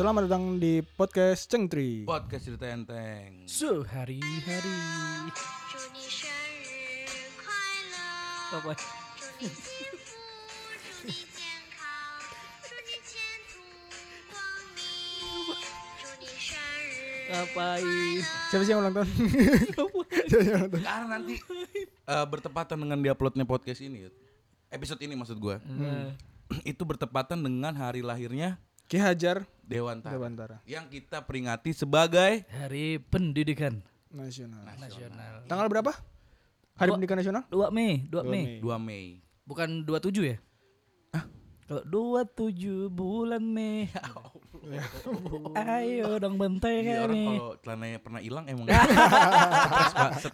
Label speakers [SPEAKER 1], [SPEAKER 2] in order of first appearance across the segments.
[SPEAKER 1] Selamat datang di podcast Cengtri.
[SPEAKER 2] Podcast cerita enteng.
[SPEAKER 3] So hari-hari
[SPEAKER 4] 祝你生日快乐，
[SPEAKER 3] apa
[SPEAKER 4] 祝你幸福，祝你健康，祝你前途光明，祝你生日
[SPEAKER 3] ngapain
[SPEAKER 1] Siapa sih yang ulang tahun? Siapa yang ulang tahun?
[SPEAKER 2] Karena nanti eh, bertepatan dengan diuploadnya podcast ini, episode ini maksud gua,
[SPEAKER 3] Nah,
[SPEAKER 2] itu bertepatan dengan hari lahirnya
[SPEAKER 1] Ki Hajar
[SPEAKER 2] Dewantara,
[SPEAKER 1] Dewantara
[SPEAKER 2] yang kita peringati sebagai
[SPEAKER 3] hari pendidikan
[SPEAKER 1] Nasional.
[SPEAKER 3] nasional
[SPEAKER 1] Tanggal berapa? Hari Pendidikan Nasional?
[SPEAKER 3] 2 Mei 2 Mei
[SPEAKER 1] 2
[SPEAKER 2] 2 Mei.
[SPEAKER 3] bukan 27 ya kalau 27 bulan Mei ayo dong
[SPEAKER 2] Ini
[SPEAKER 3] benteng
[SPEAKER 2] Iya, orang
[SPEAKER 3] nih
[SPEAKER 2] kalau celananya pernah hilang emang. ya.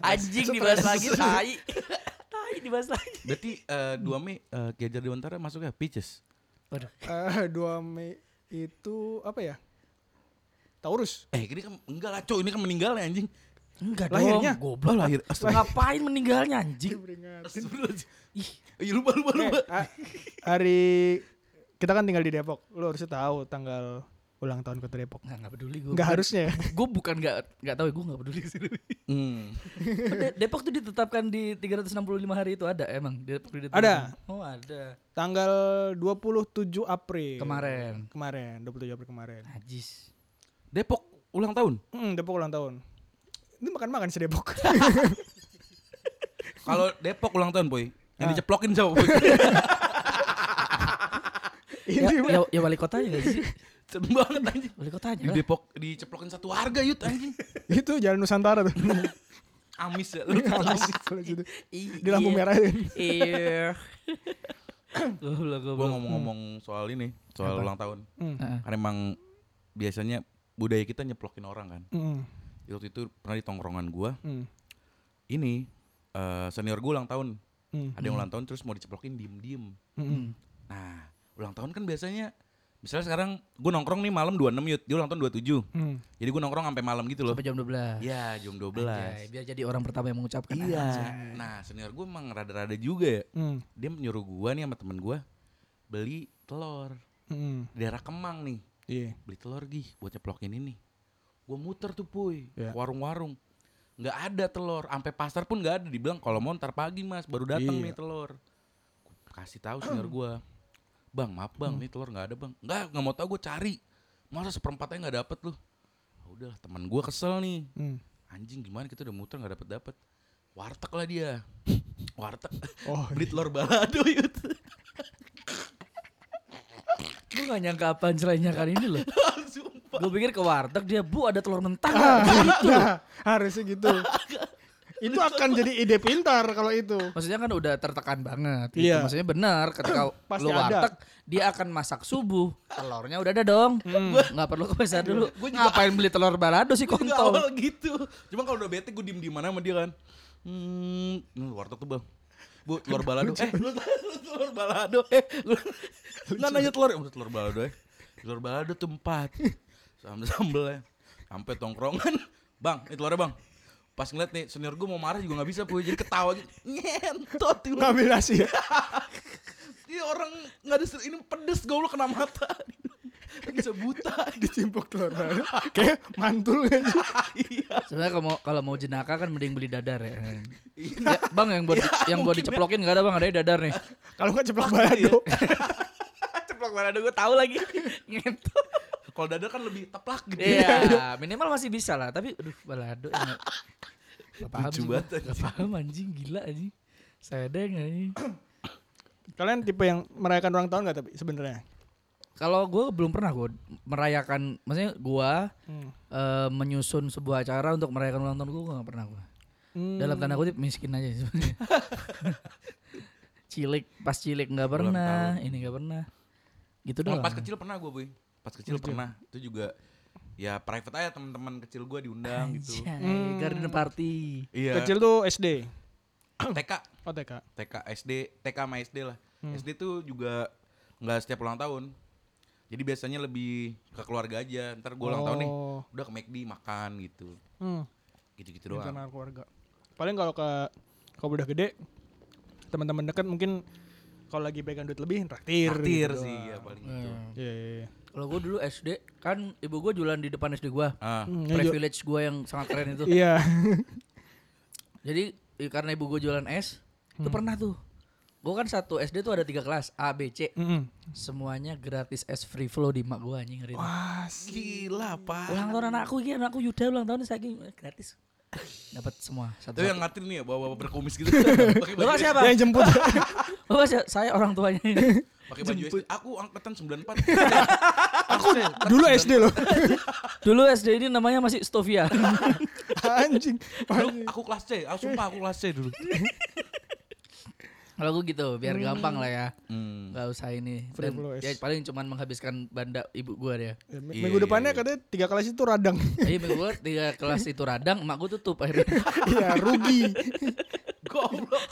[SPEAKER 3] anjing dibahas lagi tai tai dibahas lagi
[SPEAKER 2] Berarti eh, 2 Mei eh, Ki Hajar Dewantara masuknya Peaches.
[SPEAKER 3] Waduh.
[SPEAKER 1] Eh, 2 Mei itu apa ya? Taurus.
[SPEAKER 2] Eh, ini kan enggak lah, Cuk. Ini kan meninggalnya anjing.
[SPEAKER 3] enggak
[SPEAKER 1] Lahirnya?
[SPEAKER 3] dong goblok
[SPEAKER 2] Oh, lahir. Astaga.
[SPEAKER 3] ngapain meninggalnya anjing
[SPEAKER 2] Astagfirullahaladzim.
[SPEAKER 3] ih
[SPEAKER 2] Ih, lupa lupa
[SPEAKER 1] Eh,
[SPEAKER 2] lupa.
[SPEAKER 1] ah, hari kita kan tinggal di Depok. Lu harusnya tahu tanggal ulang tahun kota Depok.
[SPEAKER 3] nggak nggak peduli gue
[SPEAKER 1] Enggak harusnya ya.
[SPEAKER 3] gue bukan nggak nggak tahu gue nggak peduli sih
[SPEAKER 2] Hmm.
[SPEAKER 3] De- Depok tuh ditetapkan di 365 hari itu ada emang Depok ditetapkan.
[SPEAKER 1] Ada.
[SPEAKER 3] Oh ada.
[SPEAKER 1] Tanggal 27
[SPEAKER 3] Iya.
[SPEAKER 1] April.
[SPEAKER 3] Kemarin.
[SPEAKER 1] Kemarin, 27 April kemarin.
[SPEAKER 3] Najis.
[SPEAKER 2] Depok ulang tahun.
[SPEAKER 1] Hmm, Depok ulang tahun. Ini makan-makan si Depok.
[SPEAKER 2] Kalau Depok ulang tahun, Boy. Yang diceplokin siapa, Boy?
[SPEAKER 3] Ya,
[SPEAKER 1] Ini
[SPEAKER 3] ya, ya wali kotanya gak sih?
[SPEAKER 2] Seneng banget anjing.
[SPEAKER 3] Wali
[SPEAKER 2] Di
[SPEAKER 3] kotanya lah.
[SPEAKER 2] Depok diceplokin satu harga, Yut, anjing.
[SPEAKER 1] itu Jalan Nusantara tuh.
[SPEAKER 2] Amis ya. Lu tau.
[SPEAKER 1] Alas, kalau situ.
[SPEAKER 3] I-
[SPEAKER 1] Di lampu
[SPEAKER 3] iya.
[SPEAKER 1] merah itu.
[SPEAKER 3] Iya. Goblok
[SPEAKER 2] Gua
[SPEAKER 3] goblok.
[SPEAKER 2] ngomong-ngomong soal ini, soal ulang tahun.
[SPEAKER 1] Hmm.
[SPEAKER 3] Heeh.
[SPEAKER 2] Karena emang biasanya budaya kita nyeplokin orang kan.
[SPEAKER 1] Hmm.
[SPEAKER 2] Waktu itu pernah di tongkrongan gua,
[SPEAKER 1] Hmm.
[SPEAKER 2] ini eh, senior gua ulang tahun.
[SPEAKER 1] Hmm.
[SPEAKER 2] Ada yang ulang tahun terus mau diceplokin diem-diem.
[SPEAKER 1] Hmm.
[SPEAKER 2] Nah, ulang tahun kan biasanya misalnya sekarang gue nongkrong nih malam 26 yut, dia ulang tahun 27.
[SPEAKER 1] Hmm.
[SPEAKER 2] Jadi gue nongkrong sampai malam gitu loh.
[SPEAKER 3] Sampai jam 12.
[SPEAKER 2] Iya, jam 12.
[SPEAKER 3] Anjay, biar jadi orang pertama yang mengucapkan.
[SPEAKER 2] Iya.
[SPEAKER 3] Anjay.
[SPEAKER 2] Nah, senior gue emang rada-rada juga ya.
[SPEAKER 1] Hmm.
[SPEAKER 2] Dia menyuruh gue nih sama temen gue beli telur
[SPEAKER 1] Hmm.
[SPEAKER 2] di daerah Kemang nih.
[SPEAKER 1] Iya.
[SPEAKER 2] Beli telur gih buat nyeplokin ini. Gue muter tuh puy,
[SPEAKER 1] Iya.
[SPEAKER 2] ke warung-warung. Nggak ada telur, sampai pasar pun nggak ada. Dibilang kalau mau ntar pagi mas, baru datang
[SPEAKER 1] Iya.
[SPEAKER 2] nih telur. Gua kasih tahu senior gue, bang maaf bang,
[SPEAKER 1] Hmm.
[SPEAKER 2] nih telur nggak ada bang. Nggak, nggak mau tahu gue cari. Masa seperempatnya nggak dapet loh. Ah, udah teman gue kesel nih.
[SPEAKER 1] Hmm.
[SPEAKER 2] Anjing gimana kita udah muter nggak dapet dapet. Warteg lah dia. Warteg.
[SPEAKER 1] Oh,
[SPEAKER 2] Beli telur balado yut.
[SPEAKER 3] Gue gak nyangka apaan cerainya kali ini loh.
[SPEAKER 2] Sumpah.
[SPEAKER 3] Gue pikir ke warteg dia, bu ada telur mentah.
[SPEAKER 1] Nah, harusnya gitu. itu akan jadi ide pintar kalau itu.
[SPEAKER 3] Maksudnya kan udah tertekan banget. gitu.
[SPEAKER 1] Iya.
[SPEAKER 3] Maksudnya benar ketika
[SPEAKER 1] Pasti
[SPEAKER 3] lu
[SPEAKER 1] ada.
[SPEAKER 3] warteg dia akan masak subuh. Telurnya udah ada dong. Nggak perlu ke pasar dulu.
[SPEAKER 2] Gua juga-
[SPEAKER 3] Ngapain beli telur balado sih
[SPEAKER 2] Gue juga
[SPEAKER 3] kontol?
[SPEAKER 2] awal gitu. Cuma kalau udah bete gue diem di mana sama dia kan. Hmm, ini warteg tuh bang. Bu, telur balado. eh, lu lu telur balado. Eh, lu nggak nanya telur. Ya, udah telur balado eh. Telur balado tuh empat. Sambel sambelnya. Sampai tongkrongan. Bang, ini telurnya bang. Pas ngeliat nih senior gue mau marah juga nggak bisa puy jadi ketawa gitu. Nyentot. ini.
[SPEAKER 1] Ngambil nasi ya.
[SPEAKER 2] Ini Iya, orang nggak ada ser- ini pedes gue lu kena mata. Bisa buta.
[SPEAKER 1] Dicimpuk telur balado. Kayak mantul kan.
[SPEAKER 2] Iya.
[SPEAKER 3] Sebenarnya kalau mau, kalau mau jenaka kan mending beli dadar ya. Ya, bang yang buat yang buat diceplokin nggak ada bang ada dadar nih.
[SPEAKER 1] Kalau nggak ceplok balado.
[SPEAKER 3] Ceplok balado gue tahu lagi. Ngentot.
[SPEAKER 2] Kalau dadar kan lebih teplak gitu.
[SPEAKER 3] Iya, minimal masih bisa lah. Tapi, aduh, balado. ya nggak- Nggak paham
[SPEAKER 2] Lucu
[SPEAKER 3] sih.
[SPEAKER 2] banget,
[SPEAKER 3] gua. Nggak paham anjing, gila anjing. Sedeng anjing.
[SPEAKER 1] Kalian tipe yang merayakan ulang tahun nggak tapi sebenarnya?
[SPEAKER 3] Kalau gue belum pernah gue merayakan, maksudnya gue
[SPEAKER 1] Hmm.
[SPEAKER 3] eh, menyusun sebuah acara untuk merayakan ulang tahun gue gak pernah gue.
[SPEAKER 1] Hmm.
[SPEAKER 3] Dalam tanda kutip miskin aja sebenarnya. cilik pas cilik nggak pernah, ini nggak pernah. Gitu
[SPEAKER 2] Kalau
[SPEAKER 3] doang.
[SPEAKER 2] pas kecil pernah gue, Boy. Pas kecil pernah. Itu juga ya private aja teman-teman kecil gue diundang gitu.
[SPEAKER 3] Anjay,
[SPEAKER 1] Hmm.
[SPEAKER 3] garden party.
[SPEAKER 2] Iya.
[SPEAKER 1] Kecil tuh SD.
[SPEAKER 2] TK,
[SPEAKER 1] Oh TK.
[SPEAKER 2] TK, SD, TK sama SD lah.
[SPEAKER 1] Hmm.
[SPEAKER 2] SD tuh juga nggak setiap ulang tahun. Jadi biasanya lebih ke keluarga aja. Ntar gue ulang tahun nih,
[SPEAKER 1] Oh.
[SPEAKER 2] udah ke McD makan gitu.
[SPEAKER 1] Hmm.
[SPEAKER 2] Gitu-gitu doang.
[SPEAKER 1] internal keluarga. Paling kalau ke kalau udah gede teman-teman dekat mungkin kalau lagi pegang duit lebih traktir.
[SPEAKER 2] Traktir
[SPEAKER 1] gitu
[SPEAKER 2] sih
[SPEAKER 1] doang.
[SPEAKER 2] ya paling gitu.
[SPEAKER 1] Iya, iya, iya.
[SPEAKER 3] Kalau Kalau gue dulu SD kan ibu gue jualan di depan SD gue.
[SPEAKER 2] Ah.
[SPEAKER 1] Hmm, ya, Jo.
[SPEAKER 3] Privilege gue yang sangat keren itu.
[SPEAKER 1] Iya.
[SPEAKER 3] Jadi i- karena ibu gue jualan es,
[SPEAKER 1] Hmm.
[SPEAKER 3] itu pernah tuh. Gue kan satu SD tuh ada tiga kelas A, B, C.
[SPEAKER 1] Mm-mm.
[SPEAKER 3] Semuanya gratis es free flow di mak gue anjing hari itu.
[SPEAKER 1] Wah, s-
[SPEAKER 2] Gila, Pak.
[SPEAKER 3] Ulang tahun anakku ini anakku Yuda ulang tahun saya gratis. Dapat semua satu.
[SPEAKER 2] Itu yang ngatir nih ya, bawa-bawa berkumis gitu. Pakai baju,
[SPEAKER 3] Bapak siapa?
[SPEAKER 1] yang jemput.
[SPEAKER 3] Bapak siapa? Saya orang tuanya.
[SPEAKER 2] pakai baju SD. Aku angkatan 94.
[SPEAKER 1] Aku dulu SD loh.
[SPEAKER 3] Dulu SD ini namanya masih Stovia.
[SPEAKER 1] Anjing.
[SPEAKER 2] Dulu aku kelas C, aku sumpah aku kelas C dulu.
[SPEAKER 3] Kalau gue gitu biar gampang lah ya.
[SPEAKER 2] Hmm.
[SPEAKER 3] Gak usah ini.
[SPEAKER 1] Free
[SPEAKER 3] Dan
[SPEAKER 1] flow es.
[SPEAKER 3] ya paling cuman menghabiskan banda ibu gua dia.
[SPEAKER 1] Ya,
[SPEAKER 2] Iya,
[SPEAKER 1] Minggu
[SPEAKER 2] iya,
[SPEAKER 1] depannya
[SPEAKER 2] iya.
[SPEAKER 1] katanya tiga kelas itu radang.
[SPEAKER 3] Iya, ibu gua tiga kelas itu radang, emak gua tutup akhirnya.
[SPEAKER 1] Iya, rugi.
[SPEAKER 2] Goblok.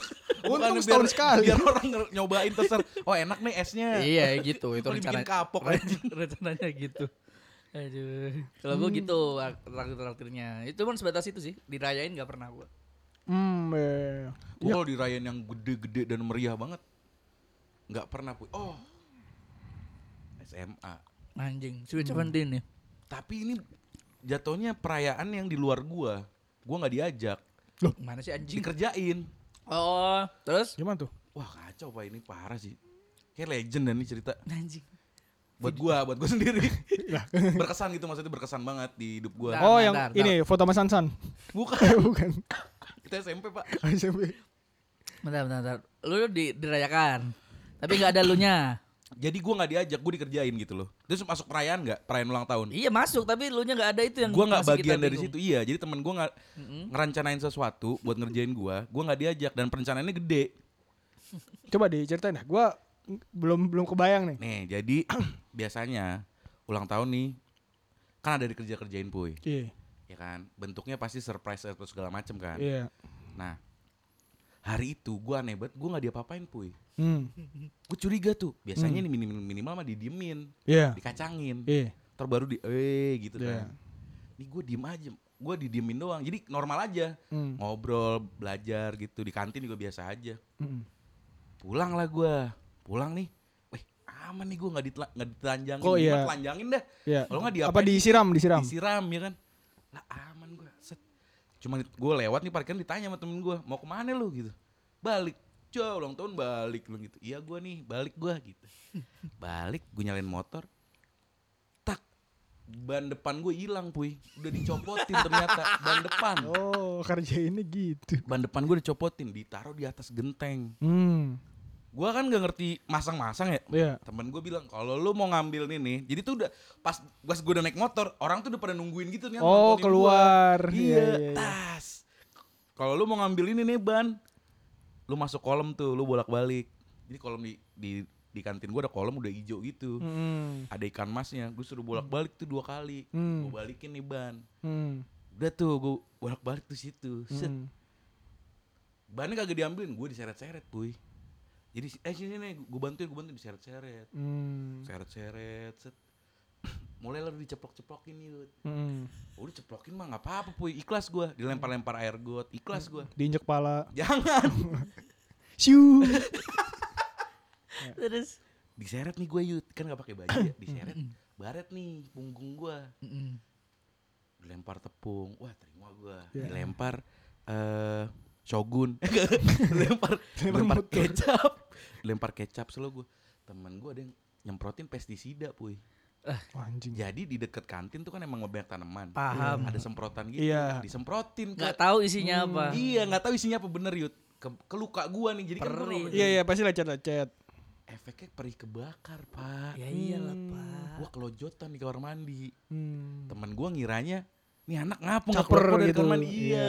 [SPEAKER 1] Untung
[SPEAKER 2] Bukannya
[SPEAKER 1] setahun
[SPEAKER 2] biar-
[SPEAKER 1] sekali.
[SPEAKER 2] Biar orang nger- nyobain terser. Oh, enak nih esnya.
[SPEAKER 3] iya, gitu. Itu
[SPEAKER 2] Itu dibikin
[SPEAKER 3] rencana
[SPEAKER 2] kapok aja.
[SPEAKER 3] rencananya gitu. Aduh. Kalau gua gitu ak- traktir-traktirnya. Itu cuma sebatas itu sih. Dirayain gak pernah gua.
[SPEAKER 1] Hmm, iya, iya.
[SPEAKER 2] Gua kalau dirayain yang gede-gede dan meriah banget. Nggak pernah, Puy. Oh. SMA.
[SPEAKER 3] Anjing, switch on din nih.
[SPEAKER 2] Tapi ini jatuhnya perayaan yang di luar gua. Gua nggak diajak,
[SPEAKER 3] Mana sih anjing?
[SPEAKER 2] dikerjain.
[SPEAKER 3] Oh, terus
[SPEAKER 1] gimana tuh?
[SPEAKER 2] Wah, kacau Pak ini parah sih. Kayak legend dan ini cerita
[SPEAKER 3] anjing.
[SPEAKER 2] buat gua, buat gua sendiri. berkesan gitu maksudnya berkesan banget di hidup gua.
[SPEAKER 3] Nah.
[SPEAKER 1] Oh,
[SPEAKER 3] Bentar,
[SPEAKER 1] yang
[SPEAKER 3] bentar,
[SPEAKER 1] ini foto sama Sansan.
[SPEAKER 2] Bukan.
[SPEAKER 1] Eh, bukan.
[SPEAKER 2] Kita SMP, Pak.
[SPEAKER 1] SMP.
[SPEAKER 3] Bentar, bentar, bentar. Lu di, dirayakan. Tapi gak ada lu nya.
[SPEAKER 2] Jadi gua nggak diajak, gua dikerjain gitu loh. Terus masuk perayaan nggak? Perayaan ulang tahun.
[SPEAKER 3] Iya masuk, tapi lu nya gak ada itu yang
[SPEAKER 2] Gua nggak
[SPEAKER 3] masih kita
[SPEAKER 2] bagian dari
[SPEAKER 3] bingung.
[SPEAKER 2] situ. Iya, jadi temen gua nggak ngerencanain sesuatu buat ngerjain gua. Gua nggak diajak dan perencanaannya gede.
[SPEAKER 1] Coba diceritain dah. Gua belum belum kebayang nih.
[SPEAKER 2] Nih, jadi biasanya ulang tahun nih kan ada dikerja-kerjain puy,
[SPEAKER 1] Iya.
[SPEAKER 2] ya kan? Bentuknya pasti surprise atau segala macem kan.
[SPEAKER 1] Iya.
[SPEAKER 2] Nah, hari itu gua aneh banget, gua nggak diapa-apain puy.
[SPEAKER 1] Hmm.
[SPEAKER 2] Gue curiga tuh. Biasanya
[SPEAKER 3] Hmm.
[SPEAKER 2] nih minimal minimal mah didiemin,
[SPEAKER 1] Iya.
[SPEAKER 3] Nah.
[SPEAKER 2] dikacangin.
[SPEAKER 1] Iya.
[SPEAKER 2] Ntar baru di eh gitu
[SPEAKER 1] Iya.
[SPEAKER 2] kan. Nih gue diem aja. Gue didiemin doang. Jadi normal aja.
[SPEAKER 1] Hmm.
[SPEAKER 2] Ngobrol, belajar gitu. Di kantin juga biasa aja.
[SPEAKER 1] Mm-mm.
[SPEAKER 2] Pulang lah gue. Pulang nih. Wih aman nih gue gak, ditela gak ditelanjangin.
[SPEAKER 1] Oh, iya.
[SPEAKER 2] Gua telanjangin dah.
[SPEAKER 1] Iya.
[SPEAKER 2] Kalau nggak
[SPEAKER 1] Apa
[SPEAKER 2] diapain?
[SPEAKER 1] disiram, disiram.
[SPEAKER 2] Disiram ya kan. Lah aman gue. Set. Cuma gue lewat nih parkiran ditanya sama temen gue. Mau kemana lu gitu. Balik. Cow ulang tahun balik lu gitu. Iya gue nih balik gue gitu. balik gue nyalain motor. Tak. Ban depan gue hilang puy. Udah dicopotin ternyata. Ban depan.
[SPEAKER 1] Oh, kerja ini gitu.
[SPEAKER 2] Ban depan gue dicopotin. Ditaruh di atas genteng.
[SPEAKER 1] Hmm.
[SPEAKER 2] Gue kan gak ngerti masang-masang ya.
[SPEAKER 1] Iya.
[SPEAKER 2] Temen gue bilang kalau lu mau ngambil nih nih, jadi tuh udah pas pas gue udah naik motor, orang tuh udah pada nungguin gitu nih.
[SPEAKER 1] Oh,
[SPEAKER 2] nontonin gua.
[SPEAKER 1] keluar.
[SPEAKER 2] Iya,
[SPEAKER 1] Iya, iya, iya.
[SPEAKER 2] tas. Kalau lu mau ngambil ini nih ban, lu masuk kolom tuh, lu bolak balik. Jadi kolom di di di kantin gue ada kolom udah hijau gitu.
[SPEAKER 1] Hmm.
[SPEAKER 2] Ada ikan masnya, gue suruh bolak balik tuh dua kali.
[SPEAKER 1] Hmm.
[SPEAKER 2] Gue balikin nih ban.
[SPEAKER 1] Hmm.
[SPEAKER 2] Udah tuh gue bolak balik tuh situ. Set.
[SPEAKER 1] Hmm.
[SPEAKER 2] Bannya kagak diambilin, gue diseret-seret, puy. Jadi eh sini nih, gue bantuin, gue bantuin diseret-seret.
[SPEAKER 1] Hmm.
[SPEAKER 2] seret-seret set mulai lalu diceplok-ceplokin yuk
[SPEAKER 1] Hmm.
[SPEAKER 2] udah ceplokin mah nggak apa-apa puy ikhlas gua dilempar-lempar air got ikhlas gua
[SPEAKER 1] Diinjek pala.
[SPEAKER 2] jangan
[SPEAKER 1] Siu.
[SPEAKER 3] Terus.
[SPEAKER 2] diseret nih gua yut kan nggak pakai baju ya diseret baret nih punggung gua
[SPEAKER 3] Mm-mm.
[SPEAKER 2] dilempar tepung wah terima gua
[SPEAKER 1] Ya.
[SPEAKER 3] Iya.
[SPEAKER 2] dilempar eh shogun dilempar dilempar
[SPEAKER 1] motor.
[SPEAKER 2] kecap dilempar kecap selalu gua temen gua ada yang nyemprotin pestisida puy
[SPEAKER 1] Wah, anjing.
[SPEAKER 2] jadi di deket kantin tuh kan emang banyak tanaman
[SPEAKER 3] Paham.
[SPEAKER 2] ada semprotan gitu
[SPEAKER 1] Iya.
[SPEAKER 2] disemprotin ke
[SPEAKER 3] Gak tahu isinya apa.
[SPEAKER 2] Iya, nggak tahu isinya apa bener Yud. Ke, ke luka gua nih, jadi kan gua
[SPEAKER 3] Perih.
[SPEAKER 2] nggak-
[SPEAKER 1] Iya, iya, pasti lecet-lecet.
[SPEAKER 2] efeknya perih kebakar pak.
[SPEAKER 3] Ya iyalah, Pak.
[SPEAKER 2] Gua kelojotan di kamar mandi.
[SPEAKER 1] Hmm.
[SPEAKER 2] Temen gua ngiranya, nih anak ngapa nggak
[SPEAKER 1] Caper
[SPEAKER 2] keluar dari
[SPEAKER 1] gitu.
[SPEAKER 2] kamar mandi? Iya.
[SPEAKER 1] Iya.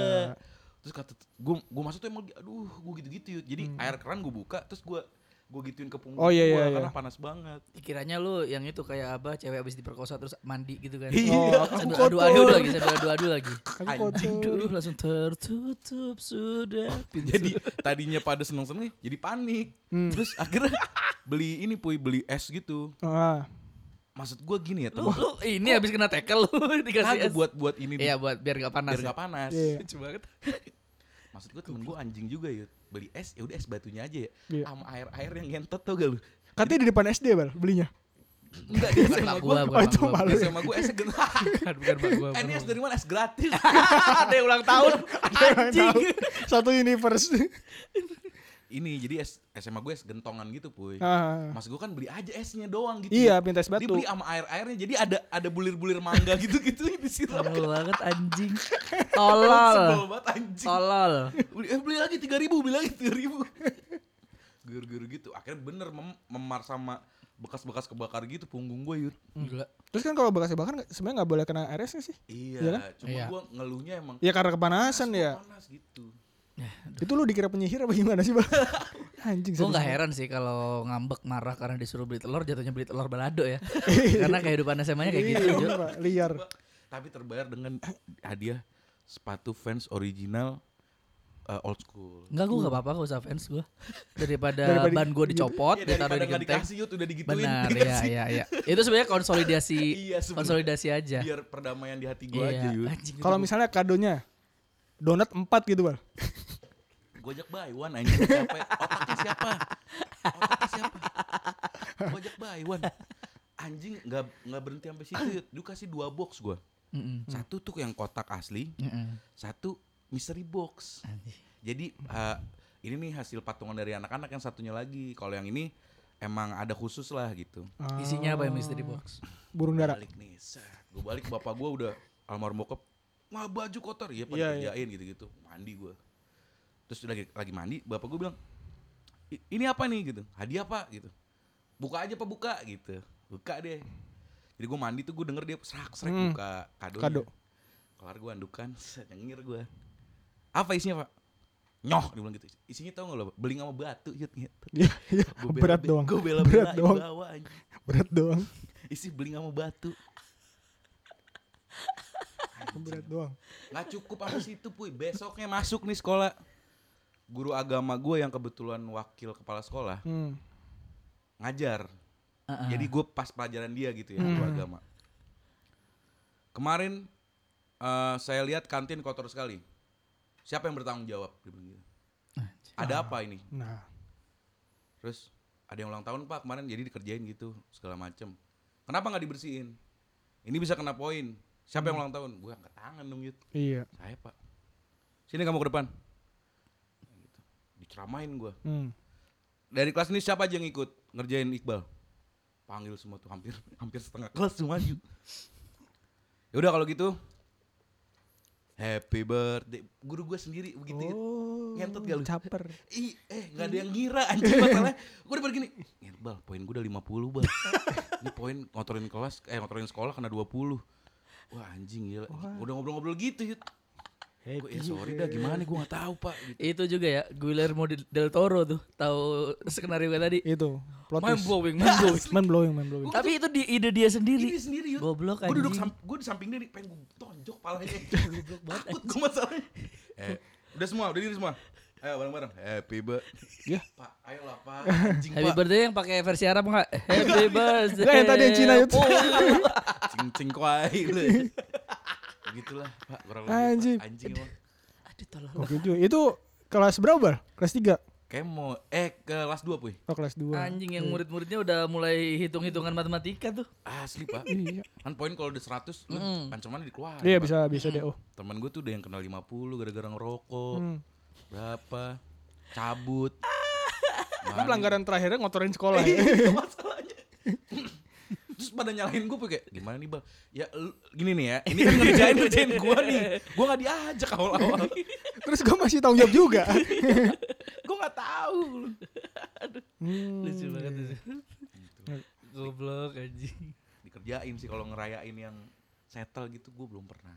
[SPEAKER 2] Terus kata gua, gua masuk tuh emang, aduh, gua gitu-gitu Yud. Jadi air keran gua buka, terus gua gua gituin ke punggung
[SPEAKER 1] Hmm. Oh, iya,
[SPEAKER 2] gua,
[SPEAKER 1] iya,
[SPEAKER 2] karena
[SPEAKER 1] iya.
[SPEAKER 2] panas banget.
[SPEAKER 3] Kiranya lu yang itu kayak apa cewek habis diperkosa terus mandi gitu kan.
[SPEAKER 2] Iya.
[SPEAKER 1] Oh, aku
[SPEAKER 3] Sambil
[SPEAKER 1] kotor.
[SPEAKER 3] adu-adu lagi, sambil adu-adu lagi.
[SPEAKER 1] Aku kotor.
[SPEAKER 3] Aduh, langsung tertutup sudah.
[SPEAKER 2] jadi tadinya pada seneng-seneng, jadi panik.
[SPEAKER 1] Hmm.
[SPEAKER 2] Terus akhirnya beli ini puy, beli es gitu.
[SPEAKER 1] Ah.
[SPEAKER 2] Maksud gua gini ya,
[SPEAKER 3] Lu,
[SPEAKER 2] temen.
[SPEAKER 3] lu ini habis kena tackle lu dikasih
[SPEAKER 2] Kagak
[SPEAKER 3] es.
[SPEAKER 2] buat buat ini
[SPEAKER 3] Iya, buat biar gak panas.
[SPEAKER 2] biar nggak panas. gitu.
[SPEAKER 1] Iya.
[SPEAKER 3] Lucu banget.
[SPEAKER 2] Maksud gue temen gue anjing juga ya beli es ya udah es batunya aja ya
[SPEAKER 1] Iya.
[SPEAKER 2] sama air air yang ngentot tuh gak lu
[SPEAKER 1] Katanya di depan SD, Bal, belinya.
[SPEAKER 2] Enggak di SMA
[SPEAKER 3] Mak
[SPEAKER 2] gue.
[SPEAKER 3] gua,
[SPEAKER 1] Oh,
[SPEAKER 3] bukan
[SPEAKER 1] itu
[SPEAKER 3] mak
[SPEAKER 1] malu.
[SPEAKER 2] Di
[SPEAKER 3] gua.
[SPEAKER 2] SMA gue S gen.
[SPEAKER 3] Bukan, bukan mak gua.
[SPEAKER 2] Eh,
[SPEAKER 3] bukan
[SPEAKER 2] Ini
[SPEAKER 3] mak
[SPEAKER 2] S
[SPEAKER 3] gua.
[SPEAKER 2] dari mana? S gratis.
[SPEAKER 3] Ada yang ulang tahun. Anjing.
[SPEAKER 1] Tahu. Satu universe.
[SPEAKER 2] Ini jadi S SMA gue S gentongan gitu puy.
[SPEAKER 1] Ah.
[SPEAKER 2] Mas gue kan beli aja esnya doang gitu.
[SPEAKER 1] Iya, minta es
[SPEAKER 2] Dia
[SPEAKER 1] batu.
[SPEAKER 2] beli sama air-airnya jadi ada ada bulir-bulir mangga gitu-gitu di situ.
[SPEAKER 3] Tolol banget anjing.
[SPEAKER 2] Sebel
[SPEAKER 3] Tolol.
[SPEAKER 2] banget anjing.
[SPEAKER 3] Tolol.
[SPEAKER 2] Beli, eh, beli lagi 3000 beli lagi 3000 Gur-gur gitu. Akhirnya bener mem- memar sama bekas-bekas kebakar gitu punggung gue yud.
[SPEAKER 3] Gila.
[SPEAKER 1] Terus kan kalau bekas bakar nggak- sebenarnya nggak boleh kena RS nggak sih?
[SPEAKER 2] Iya,
[SPEAKER 1] Iya kan?
[SPEAKER 2] cuma
[SPEAKER 3] Iya.
[SPEAKER 2] gue ngeluhnya emang
[SPEAKER 1] Ya karena kepanasan
[SPEAKER 2] "Gua
[SPEAKER 1] ya.
[SPEAKER 2] panas gitu.
[SPEAKER 1] Itu lu dikira penyihir apa gimana sih, Bang? Anjing
[SPEAKER 3] Gue
[SPEAKER 1] serius.
[SPEAKER 3] gak heran sih kalau ngambek marah karena disuruh beli telur jatuhnya beli telur balado ya. karena kehidupan SMA-nya kayak gitu.
[SPEAKER 1] Iya,
[SPEAKER 3] Jo.
[SPEAKER 1] Pak, liar.
[SPEAKER 2] Coba, tapi terbayar dengan hadiah sepatu fans original eh, old school.
[SPEAKER 3] Enggak gue gak apa-apa gak usah fans gue. Daripada,
[SPEAKER 1] Daripada
[SPEAKER 3] ban gue dicopot,
[SPEAKER 2] Ya, daripada
[SPEAKER 3] ditaruh di
[SPEAKER 2] nggak
[SPEAKER 3] genteng.
[SPEAKER 2] dikasih yud udah digituin.
[SPEAKER 3] Benar,
[SPEAKER 2] dikasih.
[SPEAKER 3] iya, iya, iya. Itu sebenarnya konsolidasi,
[SPEAKER 2] Iya, sebenarnya.
[SPEAKER 3] konsolidasi aja.
[SPEAKER 2] Biar perdamaian di hati gue
[SPEAKER 3] Iya,
[SPEAKER 2] aja yud.
[SPEAKER 3] anjing, itu
[SPEAKER 1] Kalau
[SPEAKER 3] gua-
[SPEAKER 1] misalnya kadonya donat 4 gitu, Bang.
[SPEAKER 2] Gojek buy one anjing siapa? Otaknya siapa? Otaknya siapa? Gojek buy one. Anjing nggak nggak berhenti sampai situ. Yud. Lu kasih dua box gua.
[SPEAKER 3] Mm-mm.
[SPEAKER 2] Satu tuh yang kotak asli,
[SPEAKER 3] Mm-mm.
[SPEAKER 2] satu mystery box.
[SPEAKER 3] Anjing.
[SPEAKER 2] Jadi eh, ini nih hasil patungan dari anak-anak yang satunya lagi. Kalau yang ini emang ada khusus lah gitu.
[SPEAKER 3] Isinya apa ya mystery box?
[SPEAKER 1] Burung dara.
[SPEAKER 2] Balik nih, gue balik bapak gue udah almarhum bokap, mah baju kotor ya, pada
[SPEAKER 1] Iya, iya.
[SPEAKER 2] kerjain gitu-gitu, mandi gue. Terus lagi lagi mandi, bapak gue bilang, "I- ini apa nih gitu, hadiah apa gitu, buka aja pak buka gitu, buka deh. Jadi gue mandi tuh gue denger dia serak serak
[SPEAKER 1] Hmm.
[SPEAKER 2] buka kadonya.
[SPEAKER 1] Kado.
[SPEAKER 2] Kelar gue andukan, set, nyengir gue. Apa isinya pak? Nyoh, dia bilang gitu. Isinya tau gak lo, beling sama batu yut gitu.
[SPEAKER 1] Iya, iya.
[SPEAKER 2] Gua bela-
[SPEAKER 1] Berat doang.
[SPEAKER 2] Gue bela
[SPEAKER 1] Berat doang.
[SPEAKER 2] bawa anjing
[SPEAKER 1] Berat doang.
[SPEAKER 2] isi beling sama batu
[SPEAKER 1] Berat doang.
[SPEAKER 2] nggak cukup sama situ puy besoknya masuk nih sekolah guru agama gue yang kebetulan wakil kepala sekolah
[SPEAKER 1] Hmm.
[SPEAKER 2] ngajar
[SPEAKER 3] Uh-uh.
[SPEAKER 2] jadi gue pas pelajaran dia gitu ya guru agama kemarin eh, saya lihat kantin kotor sekali siapa yang bertanggung jawab Dia bilang gitu.
[SPEAKER 3] Anjing.
[SPEAKER 2] ada apa ini
[SPEAKER 1] Nah,
[SPEAKER 2] terus ada yang ulang tahun pak kemarin jadi dikerjain gitu segala macem kenapa nggak dibersihin ini bisa kena poin siapa yang ulang tahun gue angkat tangan dong gitu
[SPEAKER 1] iya.
[SPEAKER 2] Saya pak. Sini kamu ke depan. Gitu. Diceramain gue.
[SPEAKER 1] Hmm.
[SPEAKER 2] Dari kelas ini siapa aja yang ikut ngerjain Iqbal? Panggil semua tuh hampir hampir setengah kelas cuma maju. Ya udah kalau gitu. Happy birthday. Guru gue sendiri
[SPEAKER 1] Gitu,
[SPEAKER 2] begitu. ya. Ngentot gak lu?
[SPEAKER 1] Caper.
[SPEAKER 2] Ih, eh gak ada yang ngira anjing masalahnya. Gue udah begini. "Ngen, Bal, poin gue udah 50 bal. Ini poin ngotorin kelas, eh ngotorin sekolah kena 20. Wah anjing gila. Udah ngobrol-ngobrol gitu Yud. Gue ya sorry dah gimana gue gak tahu pak. Gitu.
[SPEAKER 3] Itu juga ya Guillermo del del Toro tuh tahu skenario gue tadi.
[SPEAKER 1] Itu. Iya, Plot
[SPEAKER 3] Mind
[SPEAKER 1] twist. Iya.
[SPEAKER 3] blowing, mind blowing.
[SPEAKER 1] Mind blowing, mind blowing.
[SPEAKER 3] Tapi itu di ide dia
[SPEAKER 2] Ini
[SPEAKER 3] sendiri.
[SPEAKER 2] sendiri Yud.
[SPEAKER 3] Eh, Goblok
[SPEAKER 2] Gue duduk
[SPEAKER 3] anjing.
[SPEAKER 2] sam- gue di samping dia nih, pengen gue tonjok palanya. Goblok banget. Takut gue masalahnya. Eh, udah semua, udah diri semua. Ayo bareng-bareng. Happy birthday.
[SPEAKER 1] Ya.
[SPEAKER 2] Pak, ayolah pak. Anjing
[SPEAKER 3] Happy
[SPEAKER 2] pak.
[SPEAKER 3] birthday yang pakai versi Arab enggak? Happy birthday. Oh.
[SPEAKER 1] Enggak, yang tadi yang Cina itu.
[SPEAKER 2] cing cing kuai lu. gitu. Begitulah Pak, kurang lebih Pak.
[SPEAKER 1] Iya. Anjing.
[SPEAKER 2] anjing emang.
[SPEAKER 3] Aduh tolol.
[SPEAKER 1] Oke, itu. Itu kelas berapa, Bal? Kelas 3.
[SPEAKER 2] Kemo eh kelas 2 puy.
[SPEAKER 1] Oh, kelas 2.
[SPEAKER 3] Anjing yang murid-muridnya udah mulai hitung-hitungan matematika tuh.
[SPEAKER 2] Asli, Pak. kan poin kalau udah 100 lah, ancamannya dikeluarin.
[SPEAKER 1] Iya,
[SPEAKER 2] Pak.
[SPEAKER 1] bisa bisa DO.
[SPEAKER 3] Hmm.
[SPEAKER 2] Temen gue tuh udah yang kenal 50 gara-gara ngerokok.
[SPEAKER 1] Mm.
[SPEAKER 2] Berapa? Cabut.
[SPEAKER 1] Kan pelanggaran terakhirnya ngotorin sekolah ya.
[SPEAKER 2] Itu masalahnya. Terus pada nyalahin gue kayak gimana nih bang? Ya lu- gini nih ya, ini kan ngerjain ngerjain gue nih, gue nggak diajak awal-awal.
[SPEAKER 1] Terus gue masih tanggung jawab juga.
[SPEAKER 2] gue nggak tahu.
[SPEAKER 3] Lucu
[SPEAKER 1] Hmm.
[SPEAKER 2] Hmm,
[SPEAKER 3] banget
[SPEAKER 2] iya,
[SPEAKER 3] lucu.
[SPEAKER 2] Gitu.
[SPEAKER 3] Goblok anjing.
[SPEAKER 2] dikerjain sih kalau ngerayain yang settle gitu gue belum pernah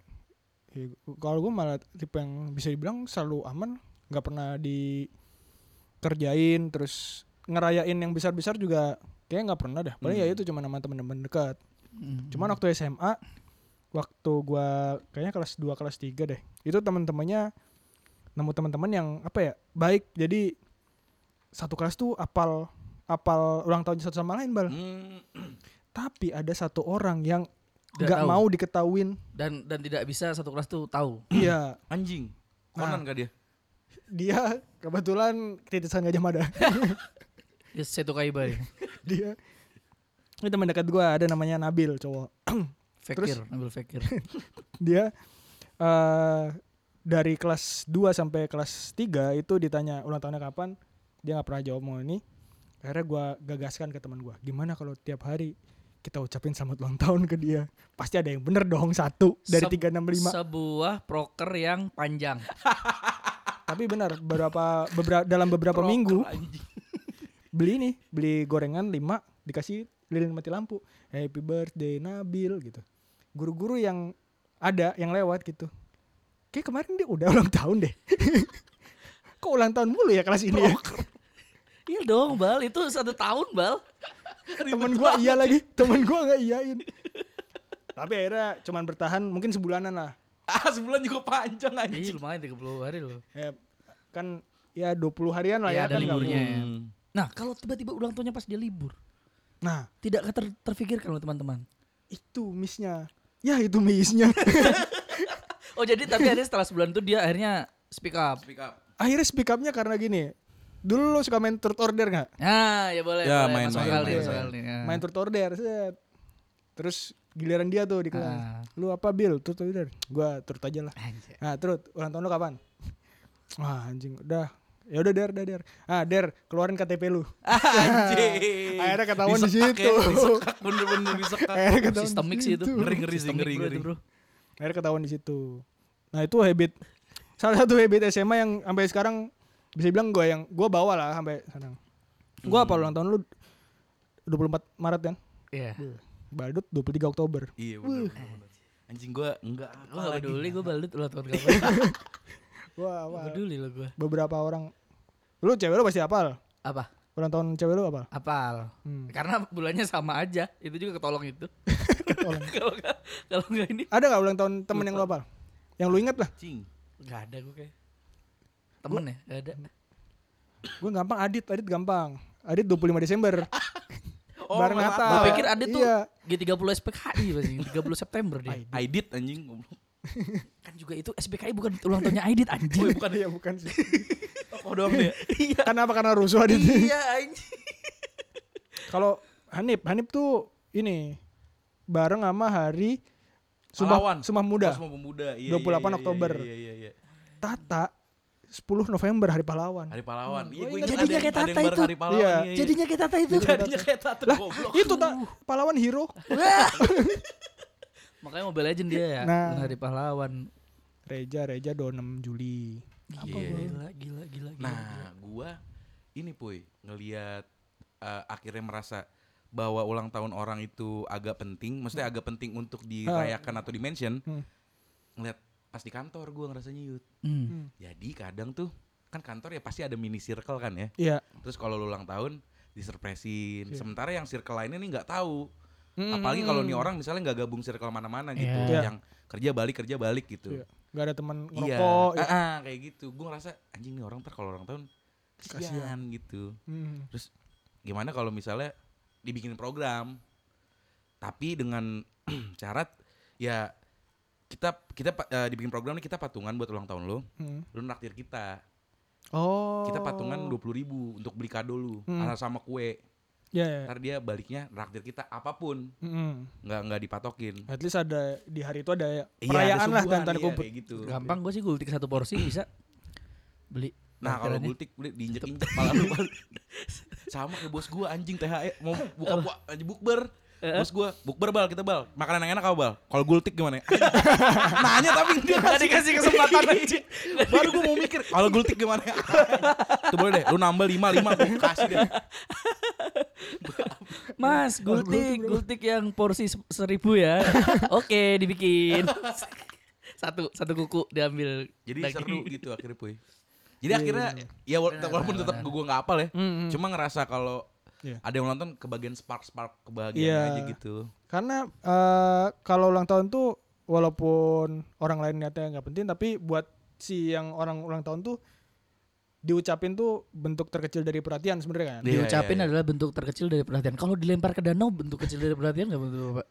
[SPEAKER 1] Ya, gu- Kalau gue malah tipe yang bisa dibilang selalu aman, nggak pernah dikerjain, terus ngerayain yang besar-besar juga kayak nggak pernah dah. Paling ya itu cuma nama teman-teman dekat. Cuman waktu SMA, waktu gua kayaknya kelas 2 kelas 3 deh. Itu teman-temannya nemu teman-teman yang apa ya? Baik. Jadi satu kelas tuh apal apal ulang tahun satu sama lain, Bal.
[SPEAKER 2] hmm,
[SPEAKER 1] Tapi ada satu orang yang
[SPEAKER 3] Nggak
[SPEAKER 1] nggak
[SPEAKER 3] tahu.
[SPEAKER 1] mau diketahuin.
[SPEAKER 3] Dan dan tidak bisa satu kelas tuh tahu.
[SPEAKER 1] Iya.
[SPEAKER 2] anjing Nah. konan gak dia
[SPEAKER 1] dia kebetulan titisan Gajah Mada.
[SPEAKER 3] Ya Seto Kaiba ya.
[SPEAKER 1] dia Ini teman dekat gua ada namanya Nabil cowok.
[SPEAKER 3] Fakir, ambil fakir.
[SPEAKER 1] Dia eh dari kelas 2 sampai kelas 3 itu ditanya ulang tahunnya kapan, dia nggak pernah jawab mau ini. Akhirnya gua gagaskan ke teman gua, gimana kalau tiap hari kita ucapin selamat ulang tahun ke dia. Pasti ada yang bener dong satu dari
[SPEAKER 3] Sep-
[SPEAKER 1] 365.
[SPEAKER 3] Sebuah proker yang panjang.
[SPEAKER 1] Tapi benar beberapa beberapa dalam beberapa minggu beli nih, beli gorengan 5 dikasih lilin mati lampu. Happy birthday Nabil gitu. Guru-guru yang ada yang lewat gitu. Kayak kemarin dia udah ulang tahun deh. Kok ulang tahun mulu ya kelas ini ya?
[SPEAKER 3] Iya dong, Bal. Itu satu tahun, Bal.
[SPEAKER 1] Temen gua iya lagi, temen gua nggak iyain. Tapi akhirnya cuman bertahan mungkin sebulanan lah.
[SPEAKER 2] Ah sebulan juga panjang
[SPEAKER 3] Iya,
[SPEAKER 2] anjing.
[SPEAKER 3] lumayan 30 hari loh.
[SPEAKER 1] Eh, kan ya 20 harian lah ya,
[SPEAKER 3] Iya, ada
[SPEAKER 1] kan nggak
[SPEAKER 3] liburnya.
[SPEAKER 1] mungkin.
[SPEAKER 2] Hmm.
[SPEAKER 3] Nah, kalau tiba-tiba ulang tahunnya pas dia libur,
[SPEAKER 1] Nah,
[SPEAKER 3] tidak ter- terfikirkan oleh teman-teman.
[SPEAKER 1] itu missnya. Ya itu missnya.
[SPEAKER 3] Oh, jadi tapi akhirnya setelah sebulan itu dia akhirnya speak up.
[SPEAKER 2] Speak up.
[SPEAKER 1] akhirnya speak up-nya karena gini. Dulu lo suka main third order nggak?
[SPEAKER 3] Nah, ya boleh.
[SPEAKER 2] Ya,
[SPEAKER 3] boleh.
[SPEAKER 2] main-
[SPEAKER 3] masuk
[SPEAKER 2] main-
[SPEAKER 3] akal nih,
[SPEAKER 2] main-
[SPEAKER 3] masuk
[SPEAKER 2] main.
[SPEAKER 3] akal nih, ya.
[SPEAKER 1] Main third order. set. Terus giliran dia tuh di kelas.
[SPEAKER 3] Ah.
[SPEAKER 1] Lu apa Bill? Third order. Gua third aja lah.
[SPEAKER 3] Anjay.
[SPEAKER 1] Nah, terus ulang tahun lu kapan? Wah, anjing udah. Ya udah der, der, der. Ah, der, keluarin KTP lu.
[SPEAKER 3] Ah,
[SPEAKER 2] Anjing.
[SPEAKER 1] Akhirnya ketahuan di
[SPEAKER 2] Disekak
[SPEAKER 1] situ.
[SPEAKER 2] ya, Disekak bener-bener disekak.
[SPEAKER 1] Akhirnya ketahuan di
[SPEAKER 3] Kan Sistemik sih itu.
[SPEAKER 1] situ.
[SPEAKER 2] Ngeri-ngeri sih,
[SPEAKER 3] Sistemik, bro,
[SPEAKER 2] ngeri-ngeri.
[SPEAKER 3] itu, bro.
[SPEAKER 1] Akhirnya ketahuan di situ. Nah, itu habit salah satu habit SMA yang sampai sekarang bisa bilang gua yang gua bawa lah sampai sekarang.
[SPEAKER 3] Hmm.
[SPEAKER 1] Gua apa ulang tahun lu 24 Maret kan?
[SPEAKER 3] Iya.
[SPEAKER 1] Badut 23 Oktober.
[SPEAKER 2] Iya bener-bener. Anjing gue enggak apa
[SPEAKER 3] Gue gak
[SPEAKER 2] lagi.
[SPEAKER 3] peduli, gue balut ulang tahun
[SPEAKER 2] Iya.
[SPEAKER 3] kapan.
[SPEAKER 1] Wah,
[SPEAKER 3] Gak
[SPEAKER 1] wah.
[SPEAKER 3] peduli lo gue.
[SPEAKER 1] beberapa orang. Lu cewek lu pasti apal.
[SPEAKER 3] Apa?
[SPEAKER 1] Ulang tahun cewek lu apal.
[SPEAKER 3] Apal.
[SPEAKER 1] Hmm.
[SPEAKER 3] Karena bulannya sama aja. Itu juga ketolong itu.
[SPEAKER 1] Ketolong.
[SPEAKER 3] Kalau nggak- kalau nggak ini
[SPEAKER 1] Ada nggak ulang tahun temen yang lu apal? Yang lu ingat lah.
[SPEAKER 2] Anjing.
[SPEAKER 3] nggak ada gue kayak. Temen ya? Gak ada.
[SPEAKER 1] Gue gampang Adit, Adit gampang. Adit 25 Desember. Bareng
[SPEAKER 2] malah-
[SPEAKER 1] Natal.
[SPEAKER 3] Gue pikir ada tuh
[SPEAKER 1] Iya.
[SPEAKER 3] G30 SPKI pasti 30 September dia.
[SPEAKER 2] I did anjing.
[SPEAKER 3] Kan juga itu SPKI bukan ulang tahunnya Aidit anjing.
[SPEAKER 1] Bukan ya, bukan sih.
[SPEAKER 2] Kok doang dia?
[SPEAKER 3] iya.
[SPEAKER 1] Kenapa karena rusuh Adit?
[SPEAKER 3] Iya anjing.
[SPEAKER 1] Kalau Hanif, Hanif tuh ini bareng sama hari
[SPEAKER 2] Pahlawan.
[SPEAKER 1] Sumpah, Sumpah
[SPEAKER 2] Udah.
[SPEAKER 1] Muda.
[SPEAKER 2] Semua pemuda. Iya,
[SPEAKER 1] 28
[SPEAKER 2] iya, iya,
[SPEAKER 1] Oktober.
[SPEAKER 2] Iya iya iya.
[SPEAKER 1] Tata 10 November hari pahlawan.
[SPEAKER 2] Hari pahlawan. Iya,
[SPEAKER 1] Oh,
[SPEAKER 2] gua
[SPEAKER 1] ingat.
[SPEAKER 2] ingat
[SPEAKER 3] Jadinya
[SPEAKER 2] ada-
[SPEAKER 3] kayak
[SPEAKER 2] ada
[SPEAKER 3] Tata
[SPEAKER 2] yang bareng
[SPEAKER 3] itu.
[SPEAKER 2] Hari pahlawan.
[SPEAKER 1] Iya.
[SPEAKER 2] Iya, iya.
[SPEAKER 3] Jadinya kayak Tata itu.
[SPEAKER 2] jadinya kayak Tata. Goblok.
[SPEAKER 1] Itu tak pahlawan hero.
[SPEAKER 3] Wah. Makanya Mobile Legend dia ya.
[SPEAKER 1] Nah.
[SPEAKER 3] Hari pahlawan.
[SPEAKER 1] Reja, Reja 26 Juli.
[SPEAKER 3] Apa
[SPEAKER 2] Iya.
[SPEAKER 3] gila gila gila gila. gila.
[SPEAKER 1] Iya.
[SPEAKER 2] Nah, gua ini puy ngelihat eh, akhirnya merasa bahwa ulang tahun orang itu agak penting, maksudnya agak penting untuk dirayakan atau dimention.
[SPEAKER 1] Ah. Hmm.
[SPEAKER 2] Ngeliat pas di kantor gua ngerasanya yut.
[SPEAKER 3] Hmm.
[SPEAKER 2] Jadi kadang tuh kan kantor ya pasti ada mini circle kan ya.
[SPEAKER 1] Iya.
[SPEAKER 2] Terus kalau lu ulang tahun
[SPEAKER 1] Iya.
[SPEAKER 2] disurpresin. Sementara yang circle lainnya nih nggak tahu.
[SPEAKER 1] Mm,
[SPEAKER 2] Apalagi kalau
[SPEAKER 1] mm,
[SPEAKER 2] nih
[SPEAKER 1] mm.
[SPEAKER 2] orang misalnya nggak gabung circle mana-mana gitu,
[SPEAKER 3] Iya.
[SPEAKER 1] Iya.
[SPEAKER 2] yang kerja balik kerja balik gitu.
[SPEAKER 1] Iya. Gak ada teman
[SPEAKER 2] Iya,
[SPEAKER 1] ngerokok.
[SPEAKER 2] ah,
[SPEAKER 1] ya.
[SPEAKER 2] ah, kayak gitu. Gue ngerasa anjing nih orang ntar kalau ulang tahun kasihan,
[SPEAKER 1] Kasihan.
[SPEAKER 2] gitu.
[SPEAKER 1] Mm.
[SPEAKER 2] Terus gimana kalau misalnya dibikin program, tapi dengan syarat ya kita kita pa- eh, dibikin program nih kita patungan buat ulang tahun lo,
[SPEAKER 1] Mm.
[SPEAKER 2] lo naktir kita,
[SPEAKER 1] Oh.
[SPEAKER 2] kita patungan dua ribu untuk beli kado lu,
[SPEAKER 1] Hmm.
[SPEAKER 2] anak sama kue.
[SPEAKER 1] Iya. iya.
[SPEAKER 2] Ntar dia baliknya naktir kita apapun,
[SPEAKER 1] Mm-mm.
[SPEAKER 2] nggak nggak dipatokin.
[SPEAKER 1] At least ada di hari itu ada
[SPEAKER 2] Iya, ada
[SPEAKER 1] perayaan lah
[SPEAKER 2] suguhan,
[SPEAKER 1] dan tanda
[SPEAKER 2] iya,
[SPEAKER 1] kutip.
[SPEAKER 2] kayak gitu.
[SPEAKER 3] Gampang gue sih gultik satu porsi bisa beli.
[SPEAKER 2] Nah kalau
[SPEAKER 3] Takarannya.
[SPEAKER 2] gultik beli diinjek injek kepala lu Bang. sama kayak bos gua anjing THE mau buka buka aja bukber. Bos gua bukber bal kita bal. Makanan yang enak apa bal? Kalau gultik gimana? ya? Nanya tapi dia
[SPEAKER 3] Nggak dikasih kesempatan, anjing.
[SPEAKER 2] Baru gua mau mikir kalau gultik gimana? ya? Itu boleh deh. Lu nambah 5 5 gua kasih deh.
[SPEAKER 3] Mas, gultik, gultik yang porsi se- seribu ya. Oke, dibikin. Satu, satu kuku diambil.
[SPEAKER 2] Jadi
[SPEAKER 3] daging. Iya,
[SPEAKER 2] seru gitu akhirnya puy. Jadi akhirnya ya wala- walaupun tetap gua nggak apal ya.
[SPEAKER 3] Hmm,
[SPEAKER 2] Cuma ngerasa kalau
[SPEAKER 1] Iya.
[SPEAKER 2] ada yang nonton kebagian spark spark kebahagiaan
[SPEAKER 1] Iya.
[SPEAKER 2] aja gitu.
[SPEAKER 1] Karena eh, kalau ulang tahun tuh walaupun orang lain niatnya nggak penting tapi buat si yang orang ulang tahun tuh diucapin tuh bentuk terkecil dari perhatian sebenarnya kan.
[SPEAKER 2] Iya, iya,
[SPEAKER 3] Diucapin
[SPEAKER 2] iya.
[SPEAKER 3] adalah bentuk terkecil dari perhatian. Kalau dilempar ke danau, bentuk kecil dari perhatian nggak bentuk apa?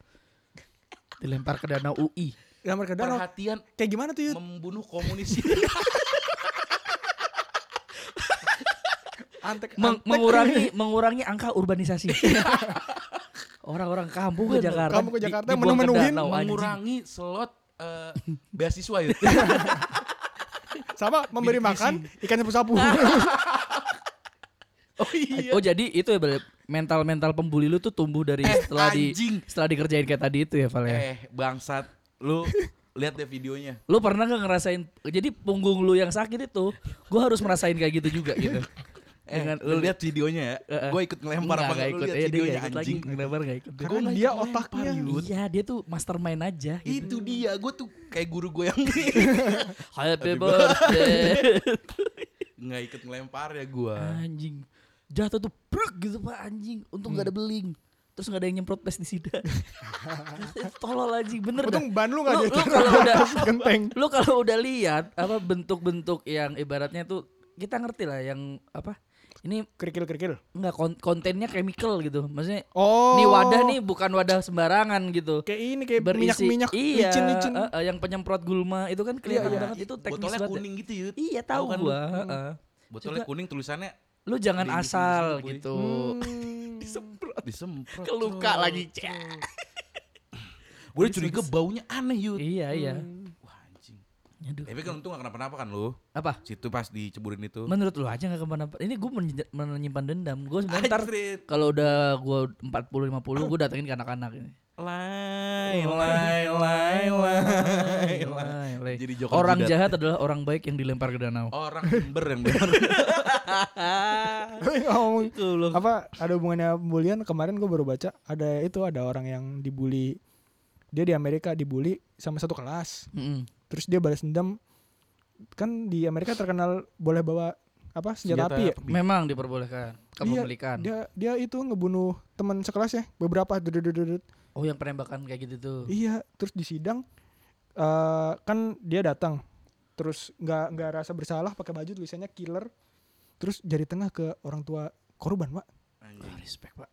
[SPEAKER 3] Dilempar ke danau UI.
[SPEAKER 1] Gambar ke danau.
[SPEAKER 2] Perhatian
[SPEAKER 1] Kayak gimana tuh? Yud?
[SPEAKER 2] membunuh komunis
[SPEAKER 1] Antek.
[SPEAKER 3] Meng- mengurangi, mengurangi angka urbanisasi. Orang-orang kampung ke
[SPEAKER 1] Bener,
[SPEAKER 3] Jakarta.
[SPEAKER 1] kampung ke
[SPEAKER 3] di-
[SPEAKER 1] Jakarta
[SPEAKER 3] dibuang ke
[SPEAKER 1] menu-menuin,
[SPEAKER 3] danau, anjing.
[SPEAKER 2] mengurangi slot eh, beasiswa ya.
[SPEAKER 1] Sama memberi makan ikan sapu-sapu.
[SPEAKER 2] oh iya.
[SPEAKER 3] Oh jadi itu ya Bel, mental-mental pembuli lu tuh tumbuh dari
[SPEAKER 2] Eh,
[SPEAKER 3] setelah di
[SPEAKER 2] anjing.
[SPEAKER 3] setelah dikerjain kayak tadi itu ya Val ya.
[SPEAKER 2] Eh, bangsat. Lu lihat deh videonya.
[SPEAKER 3] Lu pernah gak ngerasain jadi punggung lu yang sakit itu, gua harus merasain kayak gitu juga gitu.
[SPEAKER 2] Eh,
[SPEAKER 3] Dengan-
[SPEAKER 2] lu lihat videonya ya.
[SPEAKER 3] Heeh.
[SPEAKER 2] Gue ikut ngelempar
[SPEAKER 3] Enggak,
[SPEAKER 2] apa enggak
[SPEAKER 3] nggak
[SPEAKER 2] lu
[SPEAKER 3] ikut.
[SPEAKER 2] lihat
[SPEAKER 3] Eh, dia
[SPEAKER 2] videonya
[SPEAKER 3] nggak ikut
[SPEAKER 2] anjing.
[SPEAKER 3] Lagi, ngelempar nggak ikut.
[SPEAKER 1] Karena
[SPEAKER 2] nggak
[SPEAKER 1] dia
[SPEAKER 2] ikut lempar,
[SPEAKER 1] otaknya.
[SPEAKER 2] Yud.
[SPEAKER 3] Iya, dia tuh mastermind aja gitu.
[SPEAKER 2] Itu dia, gue tuh kayak guru gue yang
[SPEAKER 3] Happy birthday.
[SPEAKER 2] nggak ikut ngelempar ya gue.
[SPEAKER 3] Ah, anjing. Jatuh tuh brek gitu Pak anjing. Untung nggak ada
[SPEAKER 1] Hmm.
[SPEAKER 3] beling. Terus nggak ada yang nyemprot pes di sida. Tolol anjing, bener dah.
[SPEAKER 1] Untung ban lu
[SPEAKER 3] Lu-
[SPEAKER 1] enggak
[SPEAKER 3] lu kalau udah
[SPEAKER 1] genteng.
[SPEAKER 3] lu kalau udah lihat apa bentuk-bentuk yang ibaratnya tuh kita ngerti lah yang apa ini
[SPEAKER 1] Kerikil-kerikil.
[SPEAKER 3] enggak kon- kontennya chemical gitu maksudnya
[SPEAKER 1] Oh.
[SPEAKER 3] ini wadah nih bukan wadah sembarangan gitu
[SPEAKER 1] Kayak ini kayak
[SPEAKER 3] Berisi-
[SPEAKER 1] minyak-minyak
[SPEAKER 3] iya
[SPEAKER 1] licin-licin.
[SPEAKER 3] eh, eh, yang penyemprot gulma itu kan kelihatan
[SPEAKER 1] iya.
[SPEAKER 3] banget itu teknis
[SPEAKER 2] Botolnya
[SPEAKER 3] banget
[SPEAKER 2] kuning gitu Yud.
[SPEAKER 3] iya tahu
[SPEAKER 2] kan lu?
[SPEAKER 3] gua heeh.
[SPEAKER 2] Botolnya kuning tulisannya
[SPEAKER 3] lu jangan
[SPEAKER 2] Jadi
[SPEAKER 3] asal
[SPEAKER 2] gitu, Boy.
[SPEAKER 3] gitu
[SPEAKER 1] Hmm.
[SPEAKER 2] disemprot.
[SPEAKER 3] keluka lagi cek
[SPEAKER 2] Gue udah curiga baunya aneh Yud.
[SPEAKER 3] iya iya
[SPEAKER 2] Wah anjing.
[SPEAKER 3] Aduh.
[SPEAKER 2] Tapi kan untung gak kenapa-napa kan lu.
[SPEAKER 3] apa
[SPEAKER 2] Situ pas diceburin itu.
[SPEAKER 3] Menurut lu aja gak kemana Ini gue menyimpan dendam Gue
[SPEAKER 2] Anjir.
[SPEAKER 3] sebentar kalau udah gue 40-50 Gue datengin ke anak-anak ini
[SPEAKER 2] Lai, lai, lai, lai, lai.
[SPEAKER 3] Lai, lai.
[SPEAKER 2] Jadi Joko
[SPEAKER 3] Orang
[SPEAKER 2] Judat.
[SPEAKER 3] jahat adalah orang baik yang dilempar ke danau
[SPEAKER 2] Orang ember yang benar.
[SPEAKER 1] ngomong apa ada hubungannya pembulian kemarin gue baru baca ada itu ada orang yang dibully dia di Amerika dibully sama satu kelas
[SPEAKER 3] Mm-mm.
[SPEAKER 1] terus dia balas dendam kan di Amerika terkenal boleh bawa apa senjata,
[SPEAKER 2] Senjata
[SPEAKER 1] api ya
[SPEAKER 2] api.
[SPEAKER 3] Memang diperbolehkan Kepemilikan
[SPEAKER 1] dia dia itu ngebunuh teman sekelasnya beberapa dududududud.
[SPEAKER 3] Oh yang penembakan kayak gitu tuh
[SPEAKER 1] iya terus di sidang eh, kan dia datang terus nggak nggak rasa bersalah pakai baju tulisannya killer terus jari tengah ke orang tua korban pak
[SPEAKER 3] Ah, Respect pak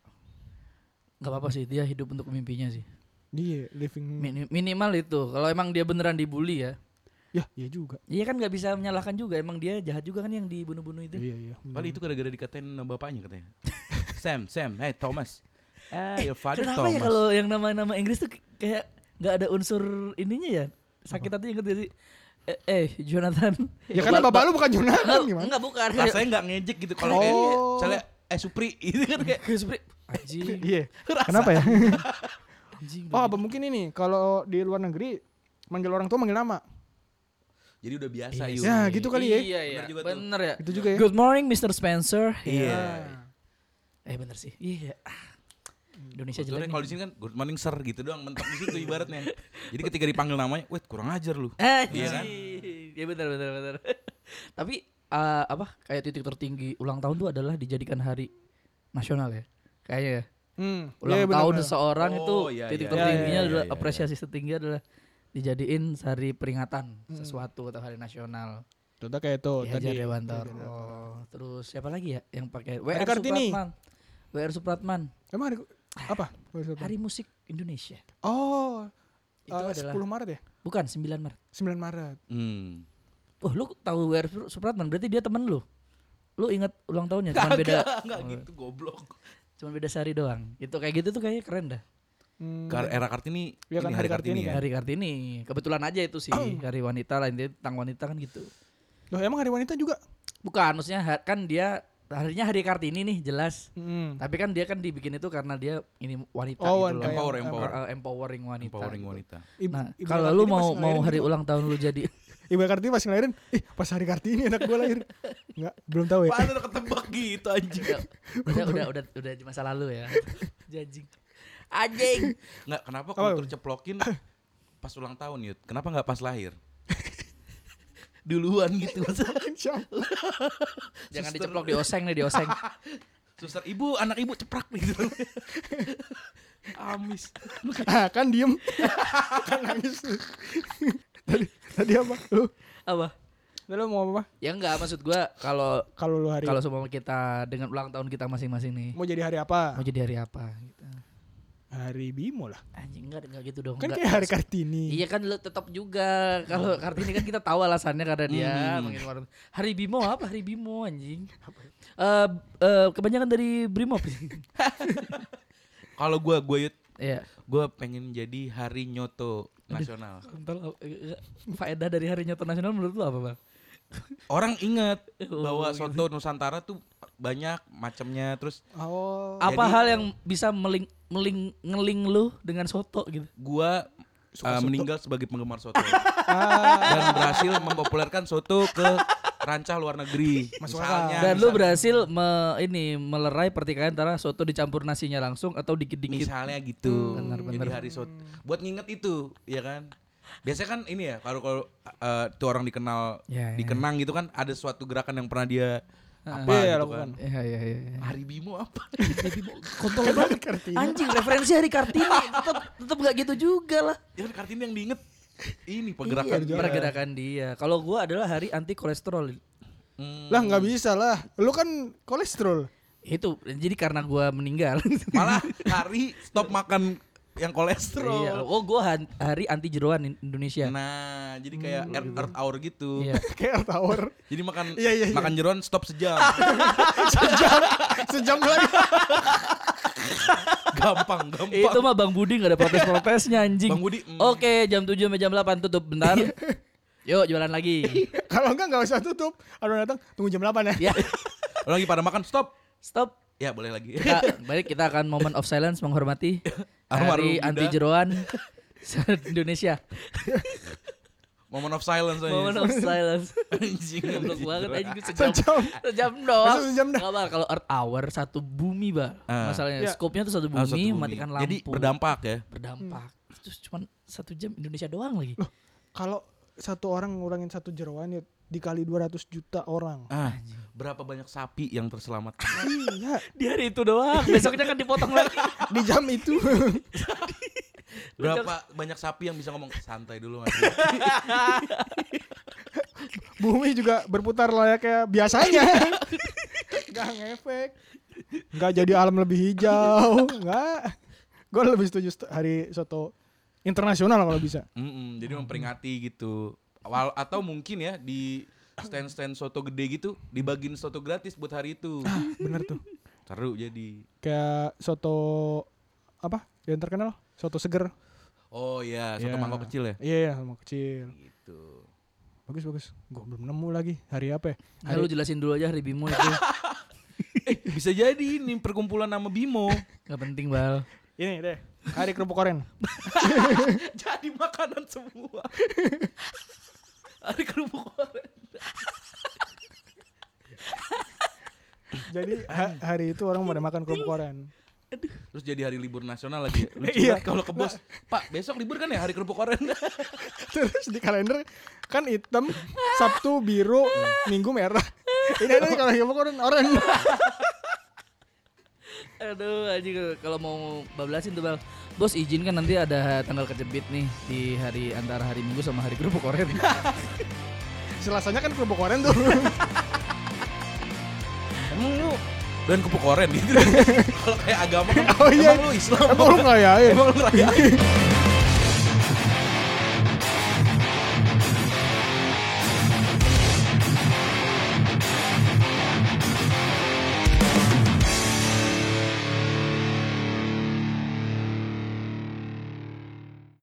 [SPEAKER 3] Gak apa-apa sih dia hidup untuk mimpinya sih
[SPEAKER 1] dia living
[SPEAKER 3] Mini- Minimal itu Kalau emang dia beneran dibully ya
[SPEAKER 1] ya iya juga
[SPEAKER 3] Iya kan gak bisa menyalahkan juga Emang dia jahat juga kan yang dibunuh-bunuh itu
[SPEAKER 1] iya iya
[SPEAKER 2] Paling itu gara-gara dikatain sama bapaknya katanya. Sam, Sam, hey Thomas. Eh, your father
[SPEAKER 3] Kenapa ya
[SPEAKER 2] Thomas.
[SPEAKER 3] kalau yang nama-nama Inggris tuh kayak nggak ada unsur ininya ya? Sakit hati inget gak sih? Eh, eh, Jonathan.
[SPEAKER 1] Ya karena
[SPEAKER 3] Ba-
[SPEAKER 1] bapak
[SPEAKER 3] ba-
[SPEAKER 1] lu bukan Jonathan
[SPEAKER 3] Enggak,
[SPEAKER 1] gimana?
[SPEAKER 3] enggak bukan. Kayak-
[SPEAKER 2] Rasanya gak ngejek gitu kalau kayak
[SPEAKER 1] Oh.
[SPEAKER 2] misalnya eh Supri itu kan kayak
[SPEAKER 3] kayak seperti anjing,
[SPEAKER 1] Iya. Kenapa ya?
[SPEAKER 3] Iya, anjing.
[SPEAKER 1] Oh, apa mungkin ini kalau di luar negeri manggil orang tua manggil nama.
[SPEAKER 2] jadi udah biasa
[SPEAKER 1] Iya
[SPEAKER 2] yuk.
[SPEAKER 1] sih. Ya, gitu kali ya.
[SPEAKER 3] Iya, iya.
[SPEAKER 2] Bener juga tuh.
[SPEAKER 3] Bener ya.
[SPEAKER 1] Itu juga ya.
[SPEAKER 3] Good morning Mr. Spencer.
[SPEAKER 2] Iya.
[SPEAKER 3] Eh bener sih. Iya. Ah. Indonesia
[SPEAKER 2] Soalnya
[SPEAKER 3] jelek.
[SPEAKER 2] kalau di
[SPEAKER 3] nih.
[SPEAKER 2] sini kan good morning sir gitu doang mentok di situ ibaratnya. Jadi ketika dipanggil namanya, wait kurang ajar lu.
[SPEAKER 3] Anjing.
[SPEAKER 2] Iya
[SPEAKER 3] Iya
[SPEAKER 2] kan?
[SPEAKER 3] bener bener bener. Tapi eh, apa kayak titik tertinggi ulang tahun tuh adalah dijadikan hari nasional ya. Kayaknya ya.
[SPEAKER 1] Hmm.
[SPEAKER 3] ulang
[SPEAKER 1] iya, benar,
[SPEAKER 3] tahun
[SPEAKER 1] benar.
[SPEAKER 3] seseorang
[SPEAKER 2] Oh,
[SPEAKER 3] itu
[SPEAKER 2] iya,
[SPEAKER 3] titik
[SPEAKER 2] iya,
[SPEAKER 3] tertingginya
[SPEAKER 2] iya, iya,
[SPEAKER 3] adalah
[SPEAKER 2] iya, iya.
[SPEAKER 3] apresiasi tertinggi adalah dijadiin hari peringatan sesuatu atau hari nasional.
[SPEAKER 1] Contoh kayak itu Hmm.
[SPEAKER 3] Ya,
[SPEAKER 1] Oh, tadi.
[SPEAKER 3] Hajar Dewantoro. Oh, Terus siapa lagi ya yang pakai
[SPEAKER 1] Hari
[SPEAKER 3] WR
[SPEAKER 1] Kartini.
[SPEAKER 3] Supratman. WR Supratman.
[SPEAKER 1] Emang hari apa?
[SPEAKER 3] Ah, Hari Musik Indonesia.
[SPEAKER 1] Oh.
[SPEAKER 3] Itu
[SPEAKER 1] eh,
[SPEAKER 3] adalah-
[SPEAKER 1] 10 Maret ya?
[SPEAKER 3] Bukan 9 Maret.
[SPEAKER 1] 9 Maret.
[SPEAKER 2] Hmm.
[SPEAKER 3] Oh, lu tahu WR Supr- Supratman berarti dia temen lu. Lu ingat ulang tahunnya cuman beda Oh.
[SPEAKER 2] Enggak gitu goblok.
[SPEAKER 3] cuman beda sehari doang. Itu kayak gitu tuh kayaknya keren dah.
[SPEAKER 1] Hmm.
[SPEAKER 2] Kar era Kartini
[SPEAKER 1] Iya kan, hari
[SPEAKER 2] ini hari
[SPEAKER 1] Kartini
[SPEAKER 2] Kartini ya.
[SPEAKER 3] Hari Kartini. Kebetulan aja itu sih hari wanita lah intinya tentang wanita kan gitu.
[SPEAKER 1] Loh, emang hari wanita juga?
[SPEAKER 3] Bukan, maksudnya ha- kan dia harinya hari Kartini nih jelas.
[SPEAKER 1] Hmm.
[SPEAKER 3] Tapi kan dia kan dibikin itu karena dia ini wanita
[SPEAKER 1] Oh,
[SPEAKER 3] gitu
[SPEAKER 1] wanita.
[SPEAKER 3] loh.
[SPEAKER 2] Empower,
[SPEAKER 1] Yang-
[SPEAKER 2] empower.
[SPEAKER 3] Eh, empowering wanita.
[SPEAKER 2] Empowering
[SPEAKER 3] gitu.
[SPEAKER 2] wanita.
[SPEAKER 1] Ibu-
[SPEAKER 3] Nah,
[SPEAKER 1] Ibu
[SPEAKER 3] kalau
[SPEAKER 1] Kartini
[SPEAKER 3] lu
[SPEAKER 1] pas
[SPEAKER 3] mau mau
[SPEAKER 1] ngelahirin
[SPEAKER 3] hari
[SPEAKER 1] gitu.
[SPEAKER 3] ulang tahun lu jadi
[SPEAKER 1] Ibu Kartini pas ngelahirin, ih pas hari Kartini anak gue lahir. Enggak, belum tahu ya.
[SPEAKER 2] Padahal udah ketebak gitu anjing.
[SPEAKER 3] udah, udah udah udah udah di masa lalu ya. Jajing. Anjing.
[SPEAKER 2] Enggak kenapa
[SPEAKER 1] Apa?
[SPEAKER 2] kultur ceplokin pas ulang tahun Yud? Kenapa enggak pas lahir? Duluan gitu.
[SPEAKER 1] Siapa?
[SPEAKER 3] Jangan diceplok di oseng nih di oseng.
[SPEAKER 2] Suster ibu, anak ibu ceprak gitu. Amis.
[SPEAKER 1] Ah, kan diem. kan nangis. tadi tadi apa? Lu
[SPEAKER 3] Apa?
[SPEAKER 1] Udah, lu mau apa?
[SPEAKER 3] Ya enggak maksud gua kalau
[SPEAKER 1] Kalau lu hari
[SPEAKER 3] kalau semua kita dengan ulang tahun kita masing-masing nih
[SPEAKER 1] mau jadi hari apa?
[SPEAKER 3] mau jadi hari apa gitu.
[SPEAKER 1] Hari Bimo lah.
[SPEAKER 3] Anjing enggak enggak gitu dong.
[SPEAKER 1] Kan
[SPEAKER 3] enggak.
[SPEAKER 1] kayak hari Kartini.
[SPEAKER 3] Iya kan lu tetap juga kalau Kartini kan kita tahu alasannya karena dia mungkin war- Hari Bimo apa Hari Bimo anjing. Eh eh, kebanyakan dari Brimob.
[SPEAKER 2] Kalau gue gue
[SPEAKER 3] Iya.
[SPEAKER 2] gue pengen jadi hari nyoto nasional.
[SPEAKER 3] Ntar, eh, eh, faedah dari hari nyoto nasional menurut lu apa bang?
[SPEAKER 2] Orang inget
[SPEAKER 3] Oh,
[SPEAKER 2] bahwa
[SPEAKER 1] gitu.
[SPEAKER 2] soto Nusantara tuh banyak macamnya terus
[SPEAKER 1] Oh.
[SPEAKER 3] Apa
[SPEAKER 2] Jadi-
[SPEAKER 3] hal yang bisa meling meling ngeling lu dengan soto gitu?
[SPEAKER 2] gua
[SPEAKER 1] Suka
[SPEAKER 2] uh,
[SPEAKER 1] soto.
[SPEAKER 2] meninggal sebagai penggemar soto
[SPEAKER 1] Ah,
[SPEAKER 2] dan berhasil mempopulerkan soto ke rancah luar negeri.
[SPEAKER 1] Masuk
[SPEAKER 2] misalnya,
[SPEAKER 3] Dan
[SPEAKER 2] misal-
[SPEAKER 3] lu berhasil me- ini melerai pertikaian antara soto dicampur nasinya langsung atau dikit-dikit. Hmm.
[SPEAKER 2] misalnya gitu.
[SPEAKER 3] Benar,
[SPEAKER 2] Jadi
[SPEAKER 3] benar.
[SPEAKER 2] hari soto buat nginget itu, ya kan? Biasanya kan ini ya kalau kalau uh, tuh orang dikenal
[SPEAKER 3] Ya, ya.
[SPEAKER 2] dikenang gitu kan ada suatu gerakan yang pernah dia apa
[SPEAKER 1] Iya,
[SPEAKER 2] gitu
[SPEAKER 1] lakukan.
[SPEAKER 2] kan.
[SPEAKER 3] Iya iya iya. iya.
[SPEAKER 2] Hari Bimo apa?
[SPEAKER 3] Kontol banget Anjing referensi hari Kartini tetap tetap nggak gitu juga lah.
[SPEAKER 2] ya kan Kartini yang diinget ini pergerakan
[SPEAKER 3] Iya,
[SPEAKER 2] dia.
[SPEAKER 3] pergerakan dia. Kalau gua adalah hari anti kolesterol.
[SPEAKER 2] Hmm.
[SPEAKER 1] lah nggak bisa lah. Lu kan kolesterol.
[SPEAKER 3] Itu jadi karena gua meninggal.
[SPEAKER 2] Malah hari stop makan yang kolesterol.
[SPEAKER 3] Iya. Oh, gua han- hari anti jeroan in- Indonesia.
[SPEAKER 2] Nah, jadi kayak earth, earth hour gitu.
[SPEAKER 3] Hmm, Iya.
[SPEAKER 1] Kayak tower.
[SPEAKER 2] Jadi makan
[SPEAKER 1] Iya, iya, iya.
[SPEAKER 2] makan jeroan stop sejam.
[SPEAKER 1] Sejam, sejam lagi.
[SPEAKER 2] gampang, gampang.
[SPEAKER 3] Itu mah Bang Budi gak ada protes-protesnya anjing.
[SPEAKER 2] Bang Budi, mm. Iya.
[SPEAKER 3] Oke, jam 7 sampai jam 8 tutup bentar. Yuk jualan lagi.
[SPEAKER 1] Kalau enggak nggak usah tutup. Orang datang tunggu jam 8 ya.
[SPEAKER 3] ya.
[SPEAKER 2] Orang lagi pada makan stop.
[SPEAKER 3] Stop.
[SPEAKER 2] Ya, boleh lagi.
[SPEAKER 3] Kita, baik kita akan moment of silence menghormati
[SPEAKER 2] Almarhum
[SPEAKER 3] hari
[SPEAKER 2] Buddha.
[SPEAKER 3] anti jeroan Indonesia.
[SPEAKER 2] Moment of silence aja.
[SPEAKER 3] Moment of silence.
[SPEAKER 2] Anjing,
[SPEAKER 3] Goblok banget
[SPEAKER 2] jeroan.
[SPEAKER 3] anjing sejam.
[SPEAKER 1] Sejam.
[SPEAKER 3] Sejam doang.
[SPEAKER 1] Masa sejam dah?
[SPEAKER 3] Nggak apa-apa, kalau earth hour satu bumi, Bang.
[SPEAKER 2] Ah.
[SPEAKER 3] Masalahnya
[SPEAKER 1] Ya.
[SPEAKER 3] skopnya tuh satu bumi,
[SPEAKER 2] Ah, satu bumi.
[SPEAKER 3] mematikan lampu.
[SPEAKER 2] Jadi berdampak ya.
[SPEAKER 3] berdampak. Terus cuman satu jam Indonesia doang lagi.
[SPEAKER 1] Kalau satu orang ngurangin satu jeroan ya dikali 200 juta orang.
[SPEAKER 2] Ah, berapa banyak sapi yang terselamat?
[SPEAKER 1] iya,
[SPEAKER 3] Di hari itu doang. Besoknya kan dipotong lagi.
[SPEAKER 1] di jam itu.
[SPEAKER 2] Berapa banyak sapi yang bisa ngomong santai dulu Mas.
[SPEAKER 1] Bumi juga berputar layaknya biasanya. Gak ngefek. Gak jadi alam lebih hijau. Gak. Gue lebih setuju st- hari soto internasional kalau bisa.
[SPEAKER 2] Mm-mm, jadi memperingati gitu. Awal atau mungkin ya di stand-stand soto gede gitu dibagiin soto gratis buat hari itu.
[SPEAKER 1] Bener tuh.
[SPEAKER 2] Seru jadi.
[SPEAKER 1] Kayak soto apa yang terkenal? Soto seger.
[SPEAKER 2] Oh iya, soto
[SPEAKER 1] Iya.
[SPEAKER 2] mangkok kecil ya.
[SPEAKER 1] Iya, iya, sama kecil.
[SPEAKER 2] Gitu.
[SPEAKER 1] Bagus, bagus. Gue belum nemu lagi hari apa ya?
[SPEAKER 3] Nah, lu jelasin dulu aja hari Bimo itu.
[SPEAKER 2] Eh, Bisa jadi ini perkumpulan nama Bimo.
[SPEAKER 3] Gak penting, Bal.
[SPEAKER 1] Ini deh, hari kerupuk oren.
[SPEAKER 2] jadi makanan semua.
[SPEAKER 3] Hari kerupuk oren.
[SPEAKER 1] Jadi ha- hari itu orang pada makan kerupuk oren.
[SPEAKER 2] Terus jadi hari libur nasional lagi. ya. Lucu
[SPEAKER 1] Iya.
[SPEAKER 2] banget kalau ke bos, "Pak, besok libur kan ya hari kerupuk oren?"
[SPEAKER 1] Terus di kalender kan hitam, Sabtu biru, Minggu merah. Ini ada nih kalau kerupuk oren oren.
[SPEAKER 3] Aduh, anjing kalau mau bablasin tuh, Bal. Bos izin kan nanti ada tanggal kejepit nih di hari antara hari Minggu sama hari kerupuk oren.
[SPEAKER 1] Selasanya kan kerupuk oren tuh.
[SPEAKER 2] Emang lu dan kerupuk oren gitu. kalau kayak agama kan,
[SPEAKER 1] Oh iya.
[SPEAKER 2] emang lu Islam.
[SPEAKER 1] Emang lu Iya. ngerayain?
[SPEAKER 2] Emang lu rakyat.